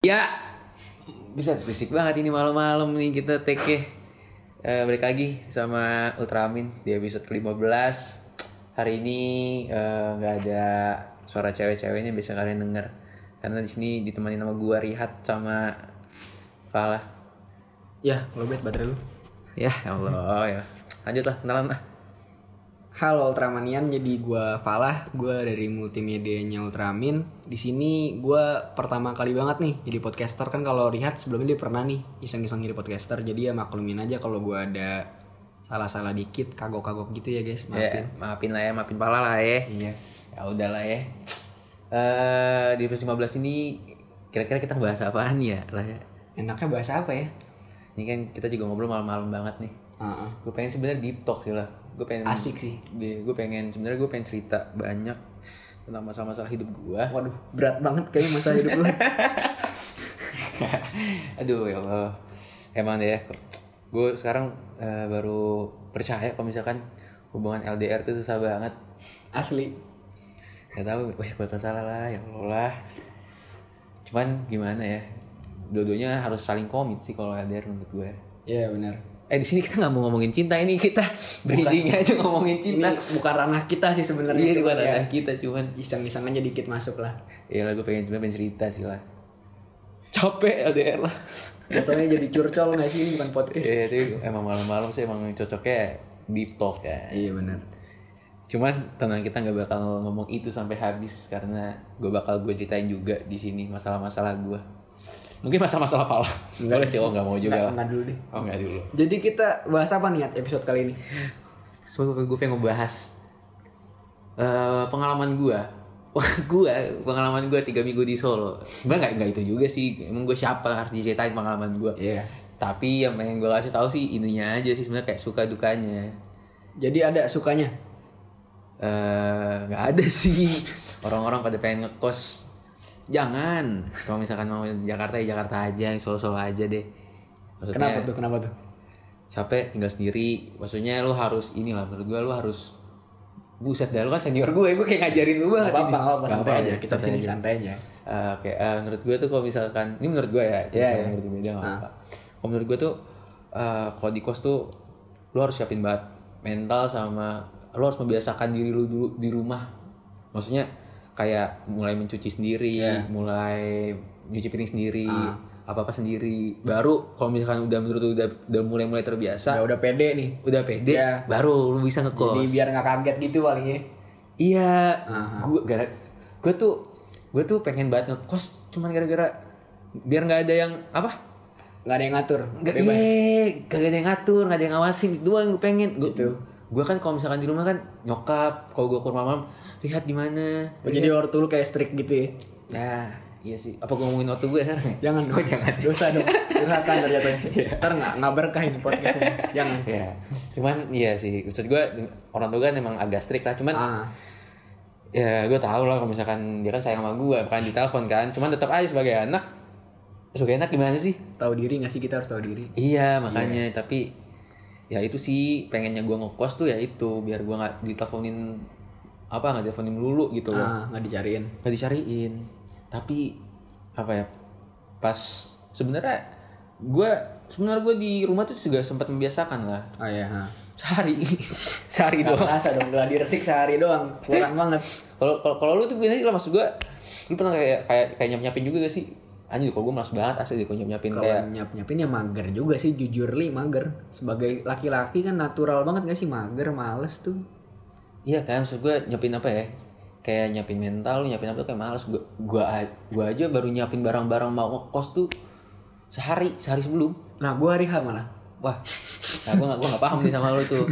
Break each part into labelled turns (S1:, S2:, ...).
S1: Ya, bisa berisik banget ini malam-malam nih kita take ya. Eh, balik lagi sama Ultramin di episode ke-15 Hari ini eh, nggak ada suara cewek-ceweknya bisa kalian denger Karena di sini ditemani sama gua Rihat sama Falah
S2: Ya, lobet baterai lu.
S1: Ya Allah ya Lanjutlah kenalan lah
S2: Halo Ultramanian, jadi gua Falah, gua dari multimedianya Ultramin. Di sini gua pertama kali banget nih jadi podcaster kan kalau lihat sebelumnya dia pernah nih iseng-iseng jadi podcaster. Jadi ya maklumin aja kalau gua ada salah-salah dikit, kagok-kagok gitu ya guys,
S1: Ya,
S2: maafin.
S1: maafin lah ya, maafin Falah lah ya
S2: Iya.
S1: Ya udahlah ya. eh di episode 15 ini kira-kira kita bahas apaan ya lah ya.
S2: Enaknya bahasa apa ya?
S1: Ini kan kita juga ngobrol malam-malam banget nih.
S2: Heeh.
S1: Gue pengen sebenarnya deep talk sih lah. Gue pengen
S2: Asik sih.
S1: Gue pengen sebenarnya gue pengen cerita banyak tentang masalah-masalah hidup gue.
S2: Waduh, berat banget kayaknya masa hidup lu.
S1: Aduh ya Allah. Emang deh ya. Gue sekarang eh, baru percaya kalau misalkan hubungan LDR tuh susah banget.
S2: Asli.
S1: Gak tahu, wah gue salah lah, ya Allah lah. Cuman gimana ya, dua-duanya harus saling komit sih kalau LDR menurut gue.
S2: Iya, benar.
S1: Eh di sini kita nggak mau ngomongin cinta ini kita bridging aja ngomongin
S2: Ini
S1: cinta.
S2: bukan ranah kita sih sebenarnya.
S1: Iya di
S2: cuman
S1: mana
S2: ya,
S1: ada kita cuman.
S2: Iseng-iseng aja dikit masuk lah.
S1: Ya lah gue pengen sebenarnya pengen cerita sih lah. Capek LDR lah.
S2: Jatuhnya jadi curcol nggak sih ini bukan podcast?
S1: Iya itu emang malam-malam sih emang cocoknya deep talk kan.
S2: Iya benar.
S1: Cuman tenang kita nggak bakal ngomong itu sampai habis karena gue bakal gue ceritain juga di sini masalah-masalah gue. Mungkin masalah-masalah pala. Boleh sih, oh nggak mau juga lah.
S2: Enggak dulu deh.
S1: Oh nggak dulu.
S2: Jadi kita bahas apa nih At, episode kali ini?
S1: Sebenernya gue pengen ngebahas eh, pengalaman gue. Wah gue pengalaman gue tiga minggu di Solo. Sebenernya nggak nggak itu juga sih. Emang gue siapa harus diceritain pengalaman gue.
S2: Iya.
S1: Tapi yang pengen gue kasih tahu sih ininya aja sih sebenarnya kayak suka dukanya.
S2: Jadi ada sukanya.
S1: eh nggak ada sih orang-orang pada pengen ngekos jangan kalau misalkan mau di Jakarta ya Jakarta aja yang solo-solo aja deh
S2: Kenapa
S1: maksudnya
S2: tuh? Kenapa tuh?
S1: capek tinggal sendiri maksudnya lu harus inilah menurut gua lu harus buset dah lu kan senior gue gue kayak ngajarin lu banget
S2: Gak apa-apa,
S1: ini.
S2: gak apa-apa,
S1: Nggak
S2: santai
S1: apa-apa
S2: aja.
S1: ya,
S2: Kita
S1: santai
S2: sini
S1: aja.
S2: santai aja.
S1: Eh, Oke, eh, menurut gue tuh kalau misalkan ini menurut gue ya,
S2: Iya,
S1: misalkan
S2: iya.
S1: menurut media nggak apa. Kalau menurut gue tuh eh, kalau di kos tuh lu harus siapin banget mental sama lu harus membiasakan diri lu dulu di rumah. Maksudnya kayak mulai mencuci sendiri,
S2: Iya.
S1: mulai nyuci piring sendiri,
S2: Ah.
S1: apa apa sendiri. Baru kalau misalkan udah menurut lu udah udah mulai mulai terbiasa,
S2: Ya udah pede nih.
S1: udah pede,
S2: Iya.
S1: baru lu bisa ngekos.
S2: Jadi biar nggak kaget gitu palingnya.
S1: Iya, gue gara gue tuh gue tuh pengen banget ngekos cuman gara-gara biar nggak ada yang apa?
S2: Gak ada yang ngatur.
S1: Gak,
S2: Bebas.
S1: iya, gak ada yang ngatur, gak ada yang ngawasin itu doang gue pengen. Gue
S2: Gitu.
S1: Gue kan kalau misalkan di rumah kan nyokap, kalau gue ke rumah malam lihat di mana.
S2: Oh, jadi waktu lu kayak strict gitu ya.
S1: Ya, iya sih. Apa gue ngomongin waktu gue sekarang? ya?
S2: Jangan dong.
S1: Oh, jangan. Iya.
S2: Dosa dong. Durhaka ntar jatuhnya. Ntar nggak nggak berkah ini podcastnya. Jangan.
S1: Ya, cuman iya sih. Maksud gue orang tua kan emang agak strict lah. Cuman
S2: Ah.
S1: ya gue tau lah kalau misalkan dia kan sayang sama gue bukan ditelepon kan cuman tetap aja sebagai anak sebagai anak gimana sih
S2: Tahu diri nggak sih kita harus tahu diri.
S1: iya makanya tapi ya itu sih pengennya gue ngekos tuh ya itu biar gue nggak diteleponin apa nggak diteleponin dulu gitu loh
S2: Ah, nggak dicariin.
S1: nggak dicariin tapi apa ya pas sebenarnya gue sebenarnya gue di rumah tuh juga sempat membiasakan lah
S2: Oh iya. ha.
S1: sehari sehari
S2: Nggak
S1: doang
S2: kerasa dong. Gladi resik sehari doang. Kurang banget.
S1: Kalau kalau kalau lu tuh biasanya lah maksud gua lu pernah kayak kayak kayak nyap nyapin juga gak sih? Anjir kalau gua malas banget asli deh kalau nyap nyapin kayak
S2: Kalau nyap nyapin ya mager juga sih jujur li mager sebagai laki-laki kan natural banget gak sih mager males tuh
S1: iya kan maksud gua nyapin apa ya? Kayak nyapin mental, lu nyapin apa tuh kayak malas gua gua a- gua aja baru nyapin barang-barang mau ngekos tuh sehari sehari sebelum.
S2: nah gua hari H malah
S1: Wah, nah gua gak, gua gak paham nih sama lu tuh.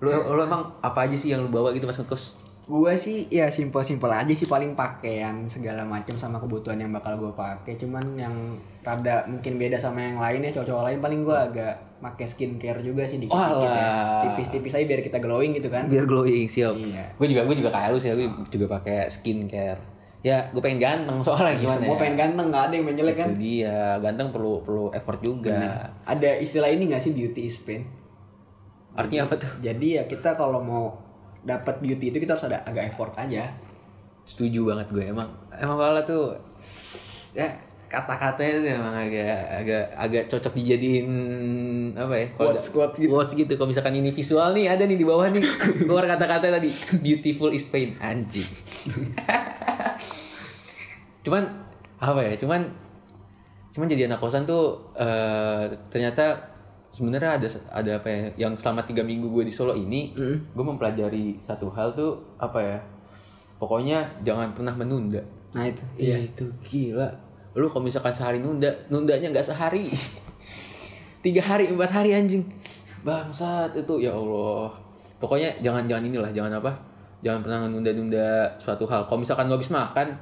S1: Lu lu emang apa aja sih yang lu bawa gitu pas ngekos?
S2: gua sih ya simpel simpel aja sih paling pakaian segala macam sama kebutuhan yang bakal gua pakai cuman yang rada mungkin beda sama yang lain ya cowok-cowok lain paling gua agak pakai skincare juga sih dikit dikit ya
S1: Walah.
S2: tipis-tipis aja biar kita glowing gitu kan
S1: biar glowing siap
S2: Iya.
S1: gue juga gue juga kayak lu sih gue juga pakai skincare ya gue pengen ganteng soalnya gimana
S2: semua
S1: ya?
S2: pengen ganteng nggak ada yang main jelek kan
S1: itu dia ganteng perlu perlu effort juga
S2: Gitu. ada istilah ini gak sih beauty is pain
S1: artinya apa tuh
S2: jadi ya kita kalau mau dapat beauty itu kita harus ada agak effort aja
S1: setuju banget gue emang emang Paula tuh ya ka- kata-katanya memang agak agak agak cocok dijadiin apa ya kalau
S2: Quotes-
S1: ada-
S2: quotes gitu.
S1: quotes gitu kalau misalkan ini visual nih ada nih di bawah nih keluar kata-kata tadi beautiful is pain anjing cuman apa ya cuman cuman jadi anak kosan tuh eh, ternyata sebenarnya ada ada apa ya yang selama tiga minggu gue di Solo ini
S2: Hmm.
S1: gue mempelajari satu hal tuh apa ya pokoknya jangan pernah menunda
S2: Nah itu.
S1: Iya itu gila. Lu kalau misalkan sehari nunda, nundanya nggak sehari. Tiga hari, empat hari anjing. Bangsat itu ya Allah. Pokoknya jangan jangan inilah, jangan apa? Jangan pernah nunda-nunda suatu hal. Kalau misalkan lu habis makan,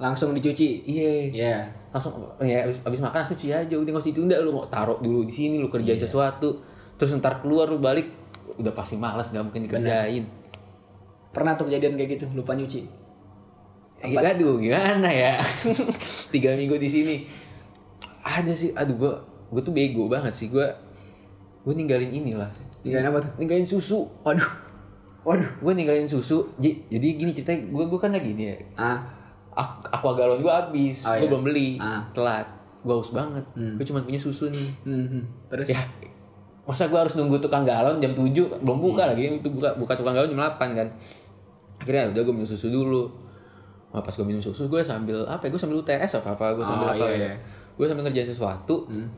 S2: Langsung dicuci.
S1: iya
S2: Iya.
S1: langsung ya habis, habis makan langsung cuci aja udah nggak usah ditunda lu mau taruh dulu di sini lu kerjain sesuatu terus ntar keluar lu balik udah pasti malas nggak mungkin dikerjain
S2: Pernah tuh kejadian kayak gitu lupa nyuci.
S1: Eh, Aduh gimana ya Tiga minggu di sini Ada sih Aduh gue Gue tuh bego banget sih Gue Gue ninggalin inilah
S2: Ninggalin apa tuh?
S1: Ninggalin susu
S2: Waduh. Waduh.
S1: Gue ninggalin susu J- Jadi gini ceritanya Gue gua kan lagi nih ya
S2: Ah.
S1: Ak- Aqua galon gue habis Gue
S2: Oh, iya.
S1: belum beli
S2: Ah.
S1: Telat Gue haus banget Gue cuma punya susu nih
S2: Hmm. Terus
S1: Ya Masa gue harus nunggu tukang galon jam 7 Belum buka lagi itu buka, buka tukang galon jam 8 kan Akhirnya udah gue minum susu dulu Nah, Pas gue minum susu gue sambil Apa ya gue sambil UTS apa apa Gue sambil
S2: Oh,
S1: apa
S2: iya, iya.
S1: ya Gue sambil ngerjain sesuatu
S2: Hmm.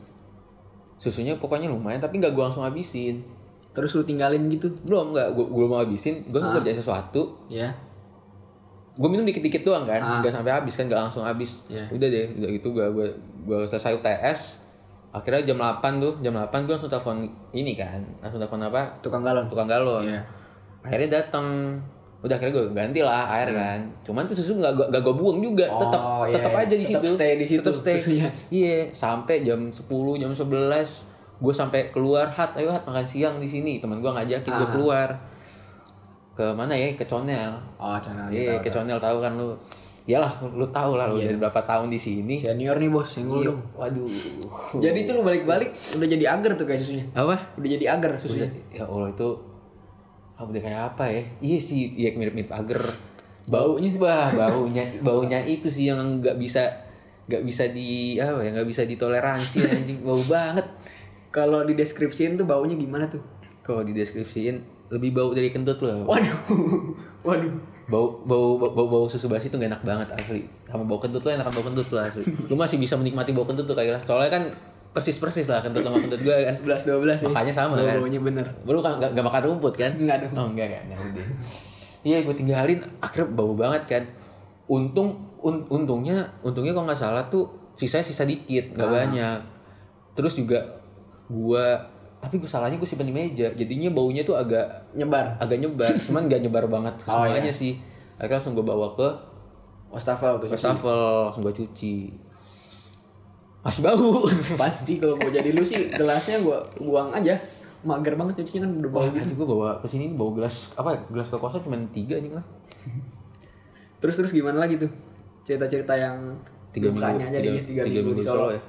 S1: Susunya pokoknya lumayan Tapi gak gue langsung habisin
S2: terus lu tinggalin gitu.
S1: Belum gak gue, gue mau habisin Gue
S2: Ah.
S1: ngerjain sesuatu
S2: Ya.
S1: gue minum dikit-dikit doang kan
S2: Ah.
S1: nggak sampai habis kan nggak langsung habis
S2: Iya.
S1: udah deh udah gitu gue gue gue selesai UTS akhirnya jam 8 tuh jam 8 gue langsung telepon ini kan langsung telepon apa
S2: Tukang galon.
S1: tukang galon
S2: Iya.
S1: akhirnya datang udah akhirnya gue ganti lah air kan cuman tuh susu nggak gua- nggak gue buang juga tetap
S2: Hmm. Oh, iya,
S1: tetap
S2: iya.
S1: aja di
S2: Tetap
S1: situ
S2: stay di situ
S1: tetap stay
S2: susunya.
S1: iya sampai jam 10 jam 11 gue sampai keluar hat ayo hat makan siang di sini teman gue ngajakin gue
S2: Ah.
S1: keluar ke mana ya ke Conel
S2: Oh, channel
S1: Iya,
S2: gitu.
S1: ke Conel tahu kan lu. Iyalah, lu tahu lah lu dari berapa tahun di sini.
S2: Senior nih bos,
S1: Iya,
S2: senggol Iya. dong.
S1: Waduh.
S2: Jadi itu lu balik-balik udah jadi agar tuh kayak susunya.
S1: Apa?
S2: Udah jadi agar susunya.
S1: Ya Allah itu ah, udah kayak apa ya? Iya sih, iya mirip-mirip agar.
S2: Baunya.
S1: Wah, baunya baunya itu sih yang nggak bisa nggak bisa di apa ya nggak bisa ditoleransi anjing bau banget
S2: Kalau di deskripsiin tuh baunya gimana tuh?
S1: kalau dideskripsiin lebih bau dari kentut loh
S2: Waduh. Waduh.
S1: bau bau bau, bau, bau susu basi itu gak enak banget asli sama bau kentut lo enakan bau kentut lo asli lu masih bisa menikmati bau kentut tuh kayak lah. soalnya kan persis persis lah kentut sama kentut gue kan
S2: 11 12 ya.
S1: Makanya sama, kan?
S2: Baunya bener.
S1: lu kan gak, gak makan rumput kan
S2: Nggak dong.
S1: oh enggak kan ya udah iya gue tinggalin akhirnya bau banget kan untung un- untungnya untungnya kalau nggak salah tuh sisanya sisa dikit
S2: Ah.
S1: nggak banyak terus juga gua tapi gue salahnya gue simpen di meja jadinya baunya tuh agak
S2: Nyebar.
S1: agak nyebar cuman gak nyebar banget ke
S2: Oh,
S1: semuanya sih akhirnya langsung gue bawa ke
S2: Wastafel tuh.
S1: wastafel langsung gue cuci masih bau
S2: Pasti kalau mau jadi lu sih gelasnya gua buang aja. Mager banget nyucinya kan udah bau
S1: wah aja gue bawa ke sini bawa gelas apa ya, gelas kekosan cuma tiga nih lah
S2: Terus terus gimana lagi tuh? Cerita-cerita yang
S1: tiga
S2: dukanya
S1: minggu
S2: jadi
S1: tiga,
S2: tiga, minggu, di Solo.
S1: ya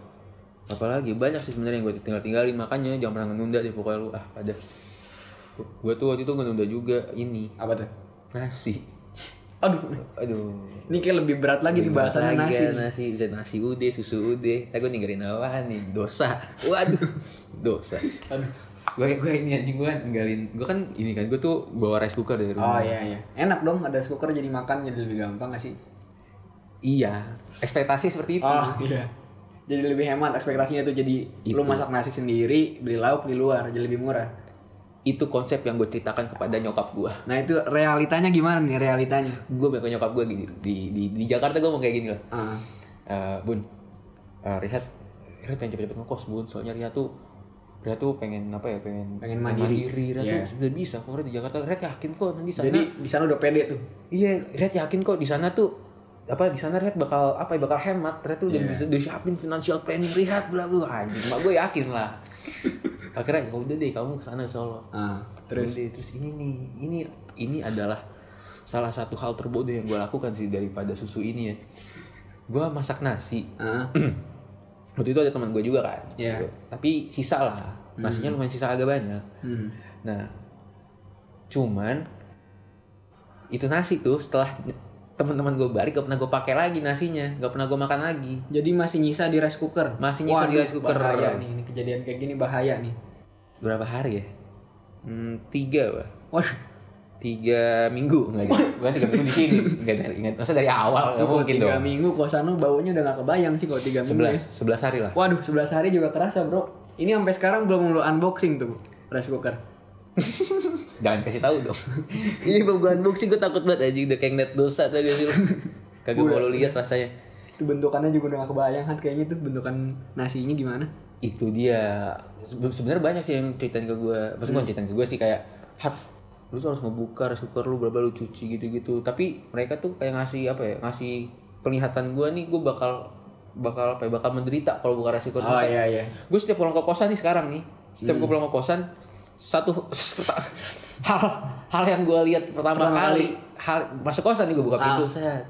S1: apalagi banyak sih sebenarnya yang gue tinggal tinggalin makanya jangan pernah nunda deh pokoknya lu ah ada gue tuh waktu itu nunda juga ini
S2: Apa tuh?
S1: nasi
S2: Aduh.
S1: aduh
S2: Ini kayak lebih berat lagi tuh bahasannya
S1: Lagi
S2: nasi.
S1: kan, nasi bisa nasi ude susu ude tapi gue ninggalin apa nih dosa waduh dosa
S2: Aduh.
S1: gue gue ini anjing gue ninggalin gue kan ini kan gue tuh bawa rice cooker dari rumah
S2: Oh iya iya. Enak dong ada rice cooker jadi makan jadi lebih gampang gak sih?
S1: iya ekspektasi seperti itu
S2: Oh iya. Jadi lebih hemat ekspektasinya tuh jadi lu masak nasi sendiri, beli lauk di luar jadi lebih murah.
S1: itu konsep yang gue ceritakan kepada nyokap gue
S2: Nah itu realitanya gimana nih realitanya?
S1: gue bilang ke nyokap gue gini di di, di Jakarta gue mau kayak gini lah
S2: Ah.
S1: Eh, bun eh, Rihat Rihat pengen cepet-cepet ngekos bun soalnya Rihat tuh Rihat tuh pengen apa ya pengen
S2: Pengen mandiri.
S1: Rihat
S2: Iya.
S1: tuh sebenarnya bisa kok Rihat di Jakarta Rihat yakin kok nanti di sana
S2: Jadi di sana udah pede tuh.
S1: Iya, Red yakin kok di sana tuh apa di sana Red bakal apa ya, bakal hemat Red tuh udah
S2: Iya.
S1: bisa udah siapin financial planning Red bla bla anjing mak gue yakin lah akhirnya ya udah deh kamu ke sana ke Solo
S2: Ah.
S1: terus terus ini nih ini ini adalah salah satu hal terbodoh yang gue lakukan sih daripada susu ini ya gue masak nasi
S2: Ah.
S1: waktu itu ada teman gue juga kan
S2: Iya.
S1: tapi sisa lah nasinya lumayan sisa agak banyak
S2: Hmm.
S1: nah cuman itu nasi tuh setelah teman-teman gue balik gak pernah gue pakai lagi nasinya gak pernah gue makan lagi
S2: Jadi masih nyisa di rice cooker.
S1: Masih nyisa di
S2: Waduh,
S1: rice cooker.
S2: Bahaya nih, ini kejadian kayak gini bahaya nih.
S1: berapa hari ya hmm, tiga pak
S2: Waduh,
S1: tiga minggu nggak ada bukan tiga minggu di sini nggak dari ingat masa dari awal nggak
S2: kalau
S1: mungkin
S2: tiga
S1: dong
S2: minggu kosan lu baunya udah gak kebayang sih kalau tiga minggu.
S1: sebelas
S2: ya.
S1: sebelas hari lah
S2: Waduh, 11 hari juga kerasa bro. Ini sampai sekarang belum lu unboxing tuh rice cooker.
S1: jangan kasih tahu dong Iya, ini belum gue unboxing gue takut banget anjing udah kayak net dosa tadi sih lu. kagak mau lu lihat rasanya
S2: Itu bentukannya juga udah gak kebayang hat kayaknya tuh bentukan nasinya gimana.
S1: itu dia Sebe- sebenarnya banyak sih yang ceritain ke gue maksudnya
S2: Hmm.
S1: bukan ceritain ke gue sih kayak hat lu tuh harus ngebuka rice cooker lu berapa lu cuci gitu gitu tapi mereka tuh kayak ngasih apa ya ngasih penglihatan gue nih gue bakal bakal apa ya, bakal menderita kalau buka rice cooker
S2: Oh iya iya.
S1: gue setiap pulang ke kosan nih sekarang nih setiap gue pulang ke kosan satu hal hal yang gue lihat pertama,
S2: Pertama
S1: kali, hal masuk kosan nih gue buka pintu set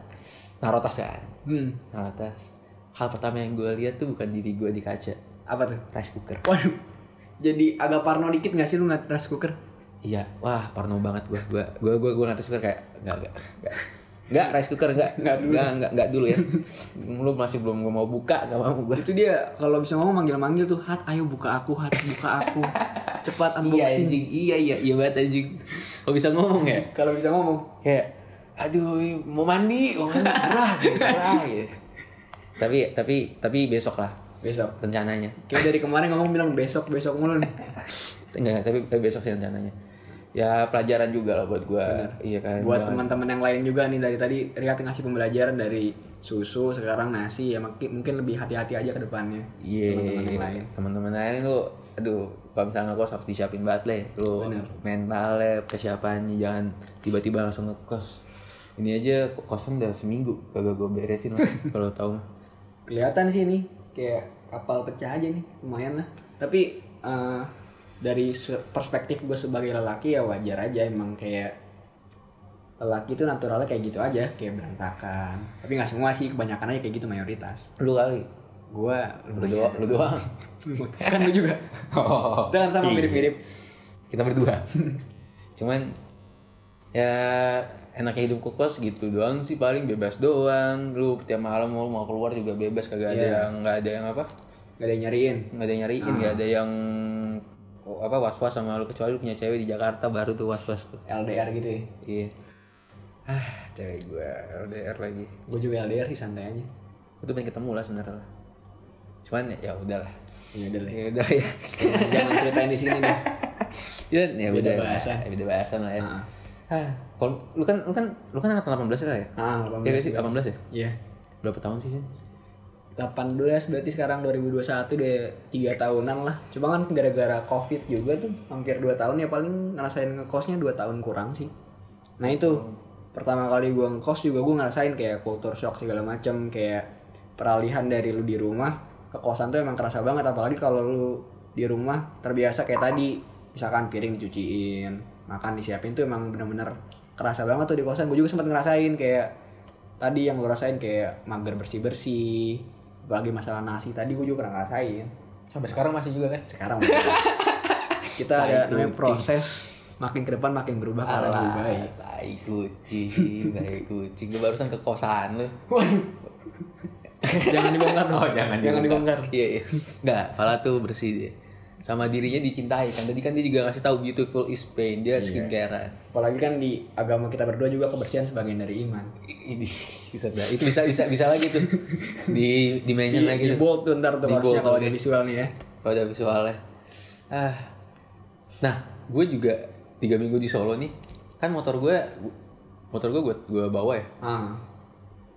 S1: naruh tas kan
S2: Hmm,
S1: naruh tas hal pertama yang gue lihat tuh bukan diri gue di kaca
S2: apa tuh?
S1: rice cooker
S2: Waduh. Jadi agak parno dikit gak sih lu ngeliat rice cooker?
S1: iya wah parno banget gue gue gue gue gue rice cooker kayak nggak nggak nggak nggak rice cooker nggak
S2: Nggak
S1: nggak
S2: dulu.
S1: nggak nggak dulu ya lu masih belum gua mau buka nggak mau gue
S2: Itu dia kalau bisa ngomong manggil-manggil tuh, "Hat, ayo buka aku, Hat, buka aku."
S1: iya
S2: Cepat unboxing.
S1: anjing iya iya iya banget anjing kok bisa ngomong ya
S2: Kalau bisa ngomong.
S1: kayak aduh mau mandi mau mandi gerah gitu, gerah gitu. tapi tapi tapi besok lah
S2: Besok.
S1: rencananya
S2: Kayak dari kemarin ngomong bilang besok besok mulu nih.
S1: enggak tapi, tapi besok sih rencananya ya pelajaran juga lah buat gua iya kan
S2: Buat
S1: Jangan-
S2: teman-teman yang lain juga nih dari tadi Rihat ngasih pembelajaran dari susu sekarang nasi ya maki- mungkin lebih hati-hati aja ke depannya.
S1: iya
S2: Teman-teman yang lain.
S1: teman-teman lain lu aduh kalau misalnya kos harus disiapin banget leh lu
S2: Bener.
S1: mentalnya persiapannya jangan tiba-tiba langsung ngekos ini aja kosan udah seminggu kagak gua beresin lah kalau tahu mah.
S2: Kelihatan sih ini kayak kapal pecah aja nih, lumayan lah. Tapi eh, dari se- perspektif gue sebagai lelaki ya wajar aja emang kayak lelaki itu naturalnya kayak gitu aja, kayak berantakan. Tapi nggak semua sih, kebanyakan aja kayak gitu mayoritas.
S1: lu kali
S2: Gue
S1: lu doang lu doang
S2: kan lu juga.
S1: oh,
S2: Kita kan sama
S1: iya.
S2: mirip-mirip.
S1: kita berdua cuman ya enaknya hidup kokos gitu doang sih paling bebas doang lu tiap malam lu mau keluar juga bebas kagak ada
S2: Iya.
S1: yang nggak ada yang apa
S2: Gak ada yang nyariin.
S1: nggak ada yang nyariin nggak ada yang oh, apa was was sama lu kecuali lu punya cewek di Jakarta baru tuh was was tuh
S2: LDR gitu ya
S1: iya ah cewek gua LDR lagi
S2: gue juga LDR sih santai aja
S1: itu pengen ketemu lah sebenarnya lah cuman ya udahlah
S2: ya udah lah
S1: ya udah ya
S2: jangan ceritain di sini deh
S1: ya, ya
S2: Beda
S1: udah
S2: bahasan.
S1: ya, beda bahasan lah ya
S2: Ah.
S1: Hah, kalau lu kan lu kan lu kan angkatan 18 lah ya?
S2: ah
S1: Iya gak sih 18 ya?
S2: ya
S1: Berapa tahun sih? Sin?
S2: 18 berarti sekarang 2021 udah tiga tahunan lah cuma kan gara-gara covid juga tuh hampir 2 tahun ya paling ngerasain ngekosnya 2 tahun kurang sih nah itu pertama kali gue ngekos juga gue ngerasain kayak culture shock segala macam kayak peralihan dari lu di rumah ke kosan tuh emang kerasa banget apalagi kalau lu di rumah terbiasa kayak tadi misalkan piring dicuciin makan disiapin tuh emang bener-bener kerasa banget tuh di kosan gue juga sempat ngerasain kayak tadi yang lo rasain kayak mager bersih bersih apalagi masalah nasi tadi gue juga pernah ngerasain
S1: Sampai sekarang masih juga kan?
S2: sekarang kita ada
S1: Nah,
S2: namanya proses makin ke depan makin berubah ke arah yang lebih baik
S1: Baik. baik kucing, baik kucing. Lu barusan ke kosan lu.
S2: jangan dibongkar
S1: Oh,
S2: dong jangan dibongkar
S1: Iya, iya. Enggak, pala tuh bersih dia. Sama dirinya dicintai kan. Tadi kan dia juga ngasih tahu beautiful is pain. Dia skincarean.
S2: apalagi kan di agama kita berdua juga kebersihan sebagian dari iman
S1: Ini bisa itu bisa bisa bisa lagi tuh. Di di mention
S2: di,
S1: Iya, lagi
S2: di
S1: tuh.
S2: bold tuh ntar tuh
S1: Di iya.
S2: harusnya
S1: bold,
S2: kalau
S1: oke.
S2: ada visual nih ya
S1: kalau ada visualnya ah nah gue juga tiga minggu di Solo nih kan motor gue motor gue gue gue bawa ya
S2: ah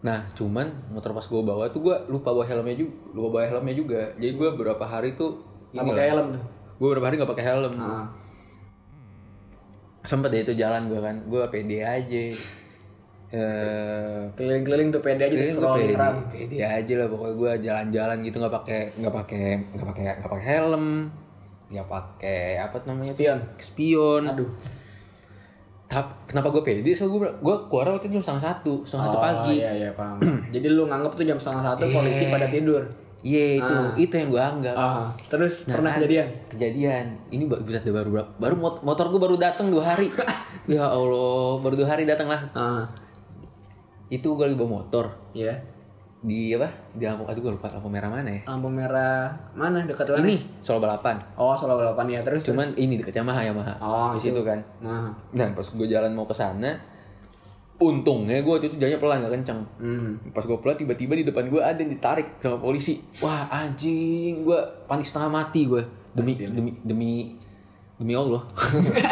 S1: nah cuman motor pas gue bawa tuh gue lupa bawa helmnya juga lupa bawa helmnya juga jadi gue berapa hari tuh
S2: nggak
S1: ini
S2: pakai helm tuh
S1: gue berapa hari nggak pakai helm
S2: ya? ah
S1: sempet deh itu jalan gue kan gue pede aja eh
S2: keliling keliling tuh pede aja
S1: Kayaknya
S2: terus scroll
S1: gue pede,
S2: Instagram
S1: pede aja lah pokoknya gue jalan-jalan gitu nggak pakai nggak pakai nggak pakai nggak pakai helm nggak pakai apa tuh namanya tuh?
S2: Spion.
S1: spion
S2: aduh
S1: Tap- kenapa gue pede soalnya gue gue keluar waktu itu jam setengah satu setengah satu pagi
S2: iya iya paham jadi lu nganggep tuh jam setengah satu polisi pada tidur
S1: iya itu itu yang gue anggap
S2: ah terus
S1: Nah,
S2: pernah
S1: kan,
S2: kejadian
S1: kejadian ini ba- buset udah baru berapa baru mot- motor gue baru datang dua hari ya allah baru dua hari datang lah
S2: ah
S1: itu gue lagi bawa motor
S2: Iya.
S1: di apa di lampu aduh gue lupa lampu merah mana ya
S2: Lampu merah mana dekat mana?
S1: ini soal balapan
S2: Oh, Solo Balapan ya terus. terus.
S1: cuman ini dekat Yamaha Yamaha
S2: Oh,
S1: di situ kan
S2: Nah.
S1: nah pas gue jalan mau ke sana untungnya gue waktu itu jalannya pelan gak kenceng
S2: Hmm.
S1: pas gue pelan tiba-tiba di depan gue ada yang ditarik sama polisi wah anjing gue panik setengah mati gue demi demi demi demi allah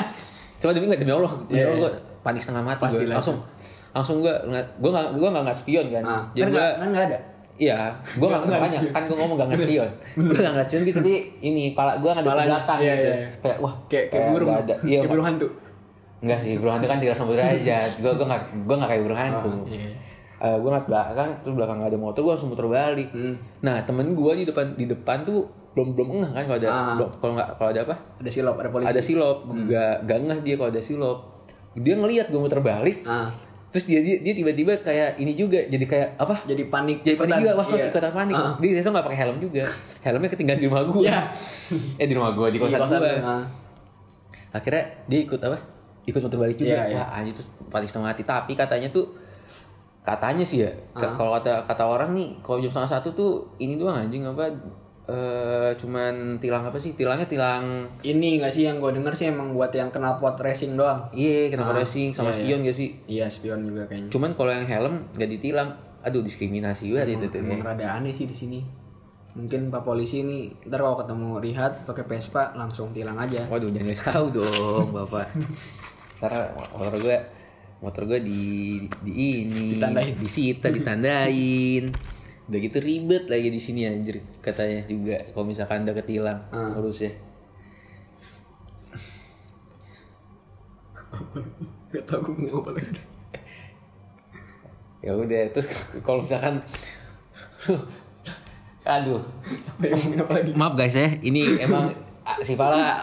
S1: cuma demi nggak demi allah demi
S2: Iya,
S1: allah
S2: iya.
S1: gue panik setengah mati gue
S2: Pastilah.
S1: langsung langsung gue gue nggak gue nggak nggak spion kan
S2: Ah,
S1: jadi
S2: kan
S1: gue
S2: nggak kan nggak ada.
S1: Iya, gue gak
S2: Nggak
S1: makanya
S2: ngespion.
S1: kan gue ngomong gak ngespion Gue gak ngespion gitu, tapi ini pala gue ada di
S2: Palanya,
S1: belakang
S2: iya,
S1: gitu
S2: iya, iya.
S1: Kayak wah,
S2: Kayak kayak burung.
S1: nggak ada Iya,
S2: kayak burung hantu.
S1: enggak sih, burung hantu kan 360 derajat Gue gua gak, gua gak kayak burung hantu
S2: iya.
S1: Eh, Gue ngeliat belakang, terus belakang gak ada motor, gue langsung muter balik
S2: Hmm.
S1: Nah temen gue di depan di depan tuh belum belum ngeh kan kalau ada
S2: Ah.
S1: belum- kalau nggak kalau ada apa
S2: Ada silop, ada polisi. Hmm.
S1: ada silop gak gak ngeh dia kalau ada silop dia ngelihat gue muter balik
S2: Ah,
S1: terus dia dia dia tiba-tiba kayak ini juga jadi kayak apa
S2: jadi panik.
S1: jadi panik
S2: ikutan.
S1: juga, was was
S2: Iya.
S1: ikutan panik.
S2: Ah.
S1: Dia biasanya nggak pakai helm juga. Helmnya ketinggalan di rumah gue.
S2: Iya.
S1: eh di rumah gue di
S2: Di
S1: kosan,
S2: kosan
S1: gue.
S2: lu, ah.
S1: Akhirnya dia ikut apa? Ikut muter balik juga.
S2: Iya, iya.
S1: Wah anjir terus paling setengah mati. Tapi katanya tuh katanya sih ya.
S2: Ah.
S1: ke- Kalau kata kata orang nih, kalau jam setengah satu tuh ini doang anjing apa? eh, cuman tilang apa sih? Tilangnya tilang
S2: Ini nggak sih yang gue denger sih emang buat yang knalpot racing doang.
S1: iya kenapa racing sama
S2: iya, iya.
S1: spion gak sih?
S2: Iya, spion juga kayaknya.
S1: Cuman kalau yang helm gak ditilang, aduh diskriminasi banget itu tuh. ya.
S2: Emang rada aneh sih di sini. Mungkin Pak Polisi ini ntar kalau ketemu Rihat pakai Vespa langsung tilang aja.
S1: Waduh jangan ngasih tahu dong bapak. Ntar motor gue motor gue di, di ini
S2: Ditandain.
S1: disita ditandain. Udah gitu ribet lagi di sini anjir katanya juga kalau misalkan anda ketilang
S2: Hmm.
S1: urusnya.
S2: Gak tau gue mau apa lagi.
S1: Ya udah terus kalau misalkan aduh
S2: Apa yang mau apa lagi?
S1: maaf guys ya ini emang ah, si Fala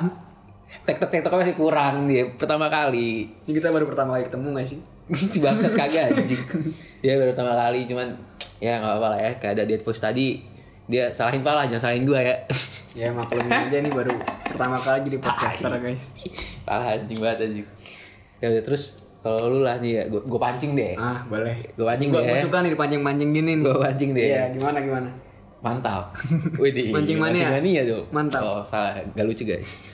S1: tektok tektok masih kurang dia pertama kali
S2: Ini kita baru pertama kali ketemu gak sih?
S1: si bangsat kagak anjing dia baru pertama kali cuman ya nggak apa-apa lah ya kayak ada dead voice tadi dia salahin pala jangan salahin gua ya
S2: Ya maklumin aja nih baru pertama kali jadi podcaster guys.
S1: parah anjing banget anjing ya udah terus kalau lu lah nih ya gua, gua pancing deh
S2: Ah boleh.
S1: Gua pancing
S2: Gua,
S1: deh.
S2: gua suka nih dipancing-pancing gini nih.
S1: Gua pancing deh.
S2: Iya gimana gimana?
S1: mantap Widih,
S2: Mancing mania.
S1: mancing mania tuh
S2: ya? Mantap.
S1: oh salah gak lucu guys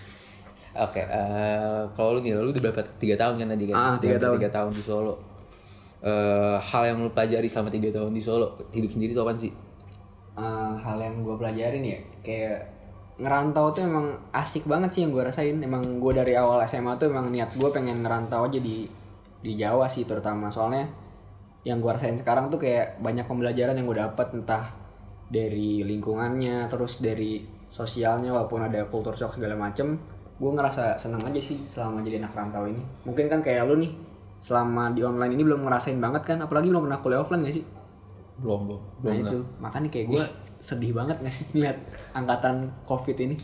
S1: oke eh, kalau lu nih lu udah berapa tiga tahun kan tadi kan
S2: Ah, tiga
S1: Berapa
S2: tahun.
S1: tiga tahun di Solo Eh, hal yang lu pelajari selama tiga tahun di Solo hidup sendiri tuh apaan sih
S2: Eh, hal yang gue pelajarin ya kayak ngerantau tuh emang asik banget sih yang gue rasain emang gue dari awal SMA tuh emang niat gue pengen ngerantau aja di di Jawa sih terutama soalnya yang gue rasain sekarang tuh kayak banyak pembelajaran yang gue dapat entah dari lingkungannya terus dari sosialnya walaupun ada kultur shock segala macem gue ngerasa seneng aja sih selama jadi anak rantau ini mungkin kan kayak lu nih selama di online ini belum ngerasain banget kan apalagi belum pernah kuliah offline gak sih
S1: belum belum
S2: nah itu makanya kayak gue sedih banget nggak sih ngeliat angkatan covid ini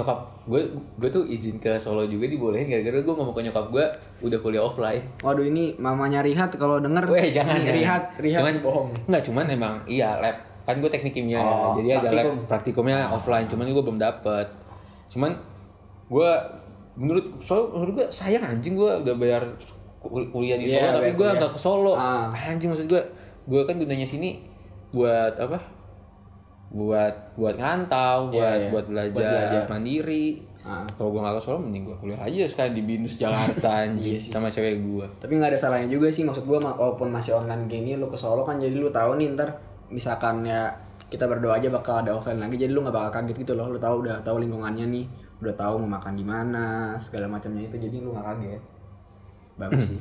S1: nyokap gue gue tuh izin ke Solo juga dibolehin gara-gara gue ngomong ke nyokap gue udah kuliah offline
S2: waduh ini mamanya Rihat kalau denger
S1: Weh jangan
S2: ini
S1: ya.
S2: Rihat Rihat
S1: cuman
S2: bohong
S1: Enggak cuman emang iya lab kan gue teknik kimia ya,
S2: Oh, Ah.
S1: jadi ada lab praktikumnya offline cuman gue belum dapet cuman gue menurut so menurut gue sayang anjing gue udah bayar kul- kuliah di Solo
S2: Iya,
S1: tapi
S2: bayar
S1: gue
S2: kuliah.
S1: nggak ke Solo
S2: Ah.
S1: anjing maksud gue gue kan gunanya sini buat apa buat buat ngantau buat
S2: iya.
S1: buat belajar,
S2: Buat belajar.
S1: mandiri
S2: Ah.
S1: kalau gue nggak ke Solo mending gue kuliah aja sekarang di binus
S2: Iya
S1: Jakarta anjing sama cewek gue
S2: tapi nggak ada salahnya juga sih maksud gue walaupun masih online gini lu ke Solo kan jadi lu tahu nih ntar misalkan ya kita berdoa aja bakal ada offline lagi jadi lu nggak bakal kaget gitu loh lu tahu udah tahu lingkungannya nih udah tahu mau makan di mana segala macamnya itu jadi lu nggak kaget bagus sih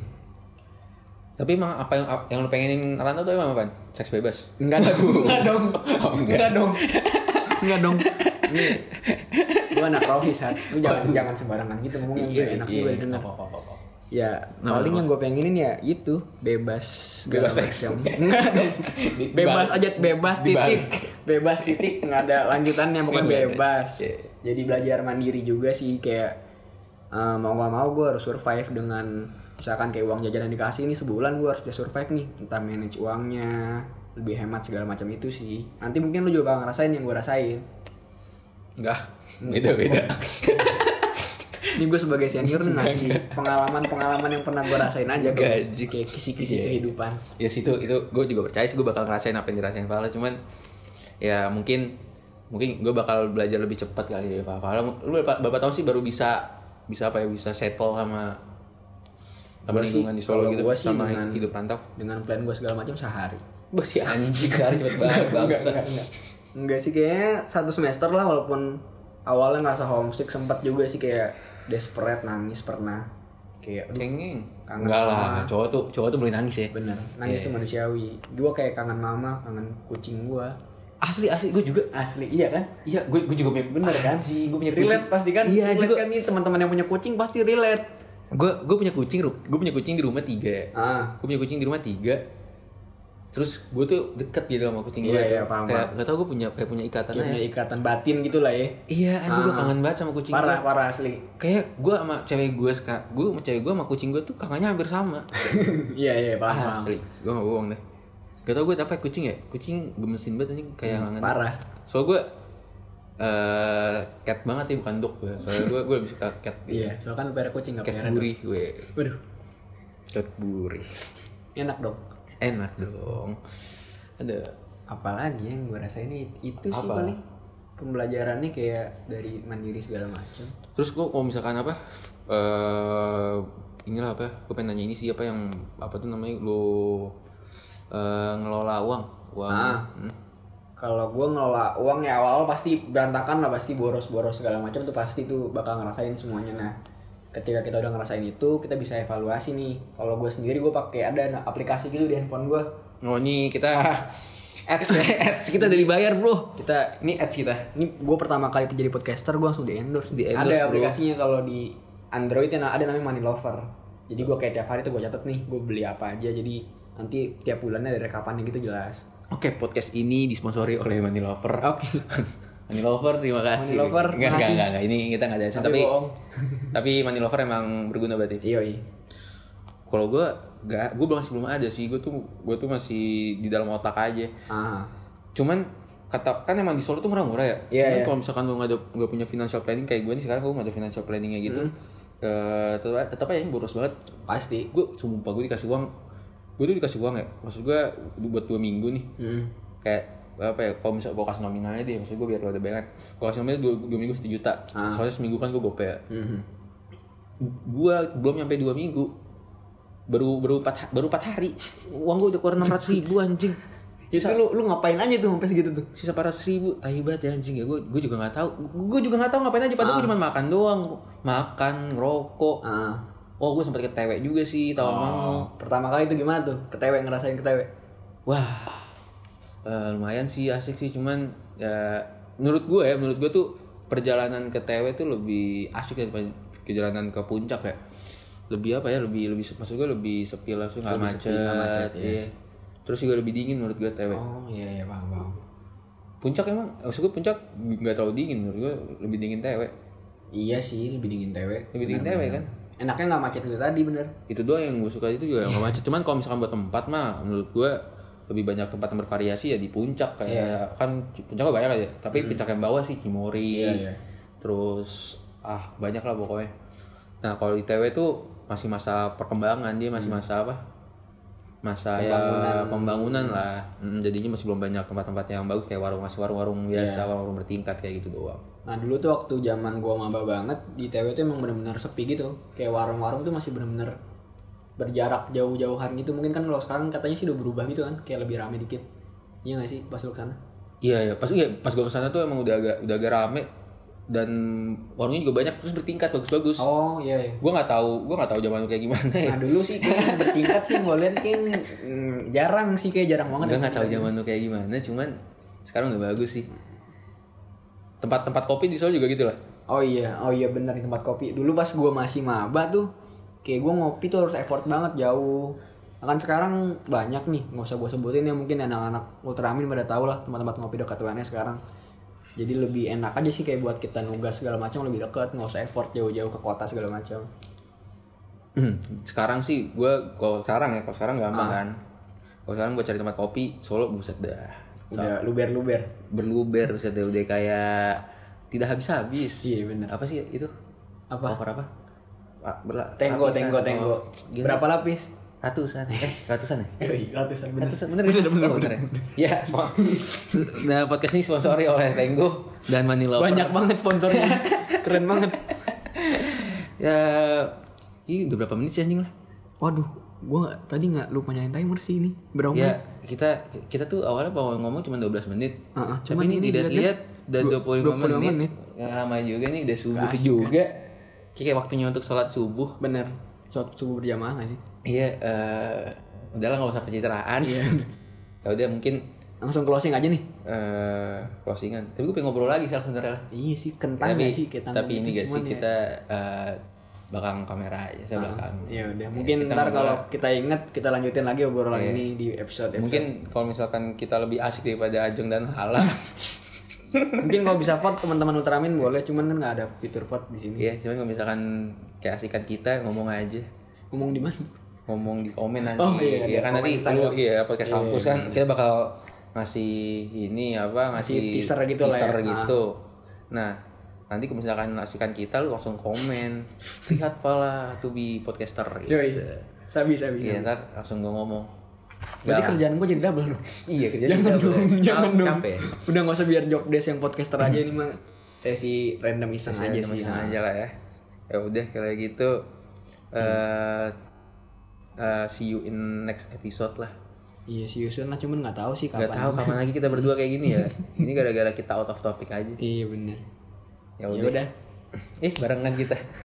S1: Tapi emang apa yang yang lu pengenin Rantau tuh emang apa? Seks bebas.
S2: Enggak dong. Enggak dong.
S1: Oh, enggak.
S2: enggak. dong. Enggak dong. Ini gua anak rohis hat. Lu jangan jangan sembarangan gitu ngomongnya enggak enak juga didengar.
S1: Iya, Apa, apa, apa, apa.
S2: Ya, paling yang gue pengenin ya itu bebas
S1: Nah,
S2: segala
S1: Bebas seks.
S2: macam. Enggak dong.
S1: Di-
S2: Bebas
S1: dibalik.
S2: aja bebas titik.
S1: Dibalik.
S2: Bebas titik enggak ada lanjutannya pokoknya
S1: Enggak ada.
S2: bebas.
S1: Iya.
S2: Jadi belajar mandiri juga sih kayak eh, mau gak mau gue harus survive dengan misalkan kayak uang jajanan dikasih ini sebulan gue harus bisa survive nih entah manage uangnya lebih hemat segala macam itu sih nanti mungkin lu juga bakal ngerasain yang gue rasain
S1: Enggak. Beda beda.
S2: Ini gue sebagai senior nih ngasih pengalaman-pengalaman yang pernah gue rasain aja. gua-
S1: Gaji.
S2: Kayak kisi-kisi
S1: Iya.
S2: kehidupan.
S1: ya situ itu gue juga percaya sih gue bakal ngerasain apa yang dirasain Fala cuman ya mungkin mungkin gue bakal belajar lebih cepat kali dari Fala Fala, lu bapak, bapak tahu sih baru bisa bisa apa ya bisa settle sama sama
S2: Gua sih,
S1: lingkungan di Solo
S2: kalau
S1: gitu
S2: gua sih
S1: sama
S2: dengan-
S1: hidup rantau
S2: Dengan plan gue segala macam sehari.
S1: Bah si anjing sehari cepet banget bangsa
S2: Enggak sih kayaknya satu semester lah walaupun awalnya ngerasa homesick sempet juga sih kayak desperate nangis pernah. Kayak aduh,
S1: Cengeng
S2: Kangen
S1: Enggak lah cowok tuh cowok tuh boleh nangis ya
S2: bener nangis tuh manusiawi. Gue kayak kangen mama, kangen kucing gue.
S1: Asli asli gue juga
S2: Asli iya kan?
S1: Iya gue gue juga punya
S2: Bener kan?
S1: sih gue punya kucing.
S2: Relate pasti kan?
S1: Iya
S2: Relate
S1: juga
S2: kan nih teman-teman yang punya kucing pasti relate.
S1: gue gue punya kucing Ru. gue punya kucing di rumah tiga ya.
S2: Ah.
S1: gue punya kucing di rumah tiga terus gue tuh deket gitu sama kucing gue
S2: Iya, iya,
S1: tuh.
S2: paham,
S1: kayak gak tau gue punya kayak punya ikatan
S2: Kayak
S1: aja
S2: punya ikatan batin gitu lah ya.
S1: iya anjir gue
S2: Ah.
S1: kangen banget sama kucing
S2: Parah,
S1: gue
S2: parah asli.
S1: kayak gue sama cewek gue sekarang gue sama cewek gue sama kucing gue tuh kakaknya hampir sama
S2: Iya, iya, paham. paham.
S1: asli gue gak bohong deh gak tau gue apa ya, kucing ya kucing gemesin banget anjing kayak kangen
S2: Hmm, Parah.
S1: soalnya gue eh cat banget ya bukan dog gue soalnya gue gue lebih suka cat gitu.
S2: Iya, soalnya kan lu pelihara kucing gak
S1: cat
S2: pelihara.
S1: buri gue
S2: Waduh,
S1: cat buri
S2: enak dong.
S1: enak dong ada
S2: Apalagi yang gue rasain it- itu sih
S1: Apa?
S2: paling pembelajarannya kayak dari mandiri segala macam.
S1: terus gua kalau misalkan apa eh inilah apa ya, gue pengen nanya ini sih apa yang apa tuh namanya lo eh, ngelola uang uang
S2: Ah.
S1: Hmm.
S2: Kalau gue ngelola uang ya awal-awal pasti berantakan lah pasti boros-boros segala macam tuh pasti tuh bakal ngerasain semuanya nah ketika kita udah ngerasain itu kita bisa evaluasi nih kalau gue sendiri gue pakai ada na- aplikasi gitu di handphone ya, gue
S1: oh ini kita ads ads kita udah dibayar bro
S2: kita
S1: ini ads kita
S2: ini gue pertama kali jadi podcaster gue langsung di endorse
S1: Di-endorse,
S2: ada
S1: bro.
S2: aplikasinya kalau di Android ya, nah, ada namanya Money Lover jadi gue kayak tiap hari tuh gue catet nih gue beli apa aja jadi nanti tiap bulannya ada rekapannya gitu jelas
S1: oke podcast ini disponsori oleh Money Lover
S2: oke
S1: Money Lover terima kasih
S2: Money Lover,
S1: enggak enggak
S2: makasih.
S1: enggak, enggak. ini kita nggak ada adsense,
S2: Tapi
S1: tapi
S2: bohong.
S1: tapi Money Lover emang berguna berarti
S2: iya iya
S1: kalau gue nggak gue masih belum ada sih gue tuh gue tuh masih di dalam otak aja
S2: ah
S1: cuman kata kan emang di Solo tuh murah-murah ya
S2: Iya,
S1: cuman
S2: iya.
S1: kalau misalkan lu nggak ada nggak punya financial planning kayak gue nih sekarang gue nggak ada financial planningnya gitu
S2: Mm-hmm.
S1: eh, tetap tetap aja boros banget
S2: pasti
S1: gue sumpah gue dikasih uang gue tuh dikasih uang ya maksud gue buat dua minggu nih
S2: Hmm.
S1: kayak apa ya kalau misal gue kasih nominalnya deh maksud gue biar lo ada bayangan gue kasih nominalnya dua, dua minggu satu juta soalnya seminggu kan gue gope ya gue belum nyampe dua minggu baru baru empat ha- baru empat hari uang gue udah keluar enam ratus ribu anjing
S2: itu lu lu ngapain aja tuh sampai segitu tuh
S1: sisa 400 ribu tai banget ya anjing ya gue gue juga nggak tahu gue juga nggak tahu ngapain aja padahal gue cuma makan doang makan ngerokok
S2: ah
S1: oh gue sempat ketewe juga sih tahu
S2: Oh.
S1: mau
S2: pertama kali itu gimana tuh ketewe ngerasain ketewe
S1: wah eh, lumayan sih asik sih cuman ya, menurut gue ya menurut gue tuh perjalanan ke TW tuh lebih asik daripada perjalanan ke puncak ya lebih apa ya lebih lebih maksud gue lebih sepi langsung nggak macet, iya. terus juga lebih dingin menurut gue TW
S2: oh iya iya paham paham
S1: puncak emang maksud gue puncak nggak terlalu dingin menurut gue lebih dingin TW
S2: iya sih lebih dingin tewe
S1: lebih dingin TW kan
S2: enaknya nggak macet itu tadi bener
S1: itu doang yang gue suka itu juga yang gak macet cuman kalau misalkan buat tempat mah menurut gue lebih banyak tempat yang bervariasi ya di puncak kayak
S2: Iya.
S1: kan puncaknya banyak aja tapi puncak yang bawah sih Cimory
S2: Iya, iya.
S1: terus ah banyak lah pokoknya nah kalau di TW tuh masih masa perkembangan dia
S2: Mm.
S1: masih masa apa masa ya pembangunan lah Mm, jadinya masih belum banyak tempat-tempat yang bagus kayak warung masih warung-warung
S2: Iya.
S1: biasa warung bertingkat kayak gitu doang
S2: Nah dulu tuh waktu zaman gua maba banget di TW tuh emang bener-bener sepi gitu. Kayak warung-warung tuh masih bener-bener berjarak jauh-jauhan gitu. Mungkin kan kalau sekarang katanya sih udah berubah gitu kan, kayak lebih rame dikit. Iya gak sih pas lu kesana?
S1: Iya ya, pas iya, pas gue kesana tuh emang udah agak udah agak rame dan warungnya juga banyak terus bertingkat bagus-bagus.
S2: Oh iya iya.
S1: Gue nggak tahu, gue nggak tahu zaman lu kayak gimana ya.
S2: Nah dulu sih kayak yang bertingkat sih gue liat kayak mm, jarang sih kayak jarang banget. gitu.
S1: Gue nggak tahu zaman lu kayak gimana, cuman sekarang udah bagus sih. Tempat-tempat kopi di Solo juga gitu lah.
S2: Oh iya, oh iya bener di tempat kopi. Dulu pas gua masih maba tuh, kayak gua ngopi tuh harus effort banget jauh. Kan sekarang banyak nih, nggak usah gua sebutin ya mungkin anak-anak ultramin pada tau lah tempat-tempat ngopi dekat UNS sekarang. Jadi lebih enak aja sih kayak buat kita nugas segala macam lebih dekat, nggak usah effort jauh-jauh ke kota segala macam.
S1: sekarang sih gue kalau sekarang ya, kalau sekarang
S2: Ah.
S1: gampang kan. Kalau sekarang gue cari tempat kopi Solo buset dah.
S2: Udah luber-luber.
S1: Berluber buset dah udah kayak tidak habis-habis.
S2: Iya, bener.
S1: Apa sih itu?
S2: Apa?
S1: Cover apa? Ah, berla-
S2: Tenggo,
S1: lapisan.
S2: tenggo, tenggo.
S1: Oh, gila.
S2: Berapa lapis?
S1: Ratusan. Eh, ratusan ya?
S2: Yoi, ratusan bener.
S1: Ratusan bener, ya?
S2: bener,
S1: Oh, ya? Ya, spon- nah, podcast ini sponsori oleh Tenggo dan Manila.
S2: Banyak banget sponsornya. Keren banget.
S1: Ya, ini udah berapa menit sih anjing lah?
S2: Waduh, gua nggak- tadi nggak lupa nyalain timer sih ini. Berapa menit?
S1: Ya, kita kita tuh awalnya mau ngomong cuma 12 menit.
S2: Ah, ah,
S1: Tapi
S2: cuman
S1: ini
S2: ini
S1: tidak lihat
S2: dilihat-lihat
S1: dan 25,
S2: 25
S1: menit.
S2: menit. kan?
S1: Ya, lama juga nih udah subuh juga. Kayak waktunya untuk sholat subuh.
S2: Bener. Sholat subuh berjamaah gak sih?
S1: Iya, eh udahlah nggak usah pencitraan. Iya. ya udah mungkin
S2: Langsung closing aja nih.
S1: eh closingan. Tapi gue pengen ngobrol lagi sal sebenarnya lah.
S2: Iya sih, kentang
S1: Tapi,
S2: gak sih kita
S1: tapi
S2: ngomong
S1: ini
S2: gitu,
S1: gak sih
S2: cuman ya-
S1: kita eh, belakang kamera aja, saya belakang.
S2: Ya udah, mungkin
S1: eh, kita ngobrol.
S2: ntar
S1: Iya.
S2: kalau kita inget kita lanjutin lagi obrolan ini di episode
S1: Mungkin kalau misalkan kita lebih asik daripada Ajeng dan Hala.
S2: mungkin kalau bisa vote teman-teman Ultramin boleh, cuman kan nggak ada fitur vote di sini.
S1: Iya, cuman kalau misalkan keasikan kita ngomong aja.
S2: Ngomong di mana?
S1: Ngomong di komen nanti.
S2: Oh, iya,
S1: ya
S2: di
S1: kan
S2: komen
S1: nanti lu
S2: Instagram.
S1: iya podcast kampus kan kita bakal ngasih ini apa ngasih
S2: Ngasih teaser gitu lah ya.
S1: teaser
S2: Ah.
S1: gitu. Nah, nanti kalau misalkan asikan kita lu langsung komen lihat pala to be podcaster gitu.
S2: Yoi. Sabi sabi.
S1: Iya, ntar langsung gue ngomong.
S2: Berarti
S1: Nggak lah.
S2: kerjaan gue jadi double dong.
S1: Iya, kerjaan
S2: jangan
S1: double.
S2: dong,
S1: Cap-
S2: jangan dong.
S1: capek ya?
S2: Udah nggak usah biar job desk yang podcaster aja ini mah sesi random iseng aja
S1: Sama
S2: sih.
S1: Iya, sama aja lah ya. Ya udah kalau gitu eh eh, see you in next episode lah.
S2: Iya si Yusun lah cuman nggak tahu sih
S1: Gak
S2: kapan.
S1: tahu kapan lagi kita berdua kayak gini ya. Ini gara-gara kita out of topic aja.
S2: Iya bener.
S1: Ya
S2: Ya
S1: udah.
S2: udah.
S1: Eh barengan kita.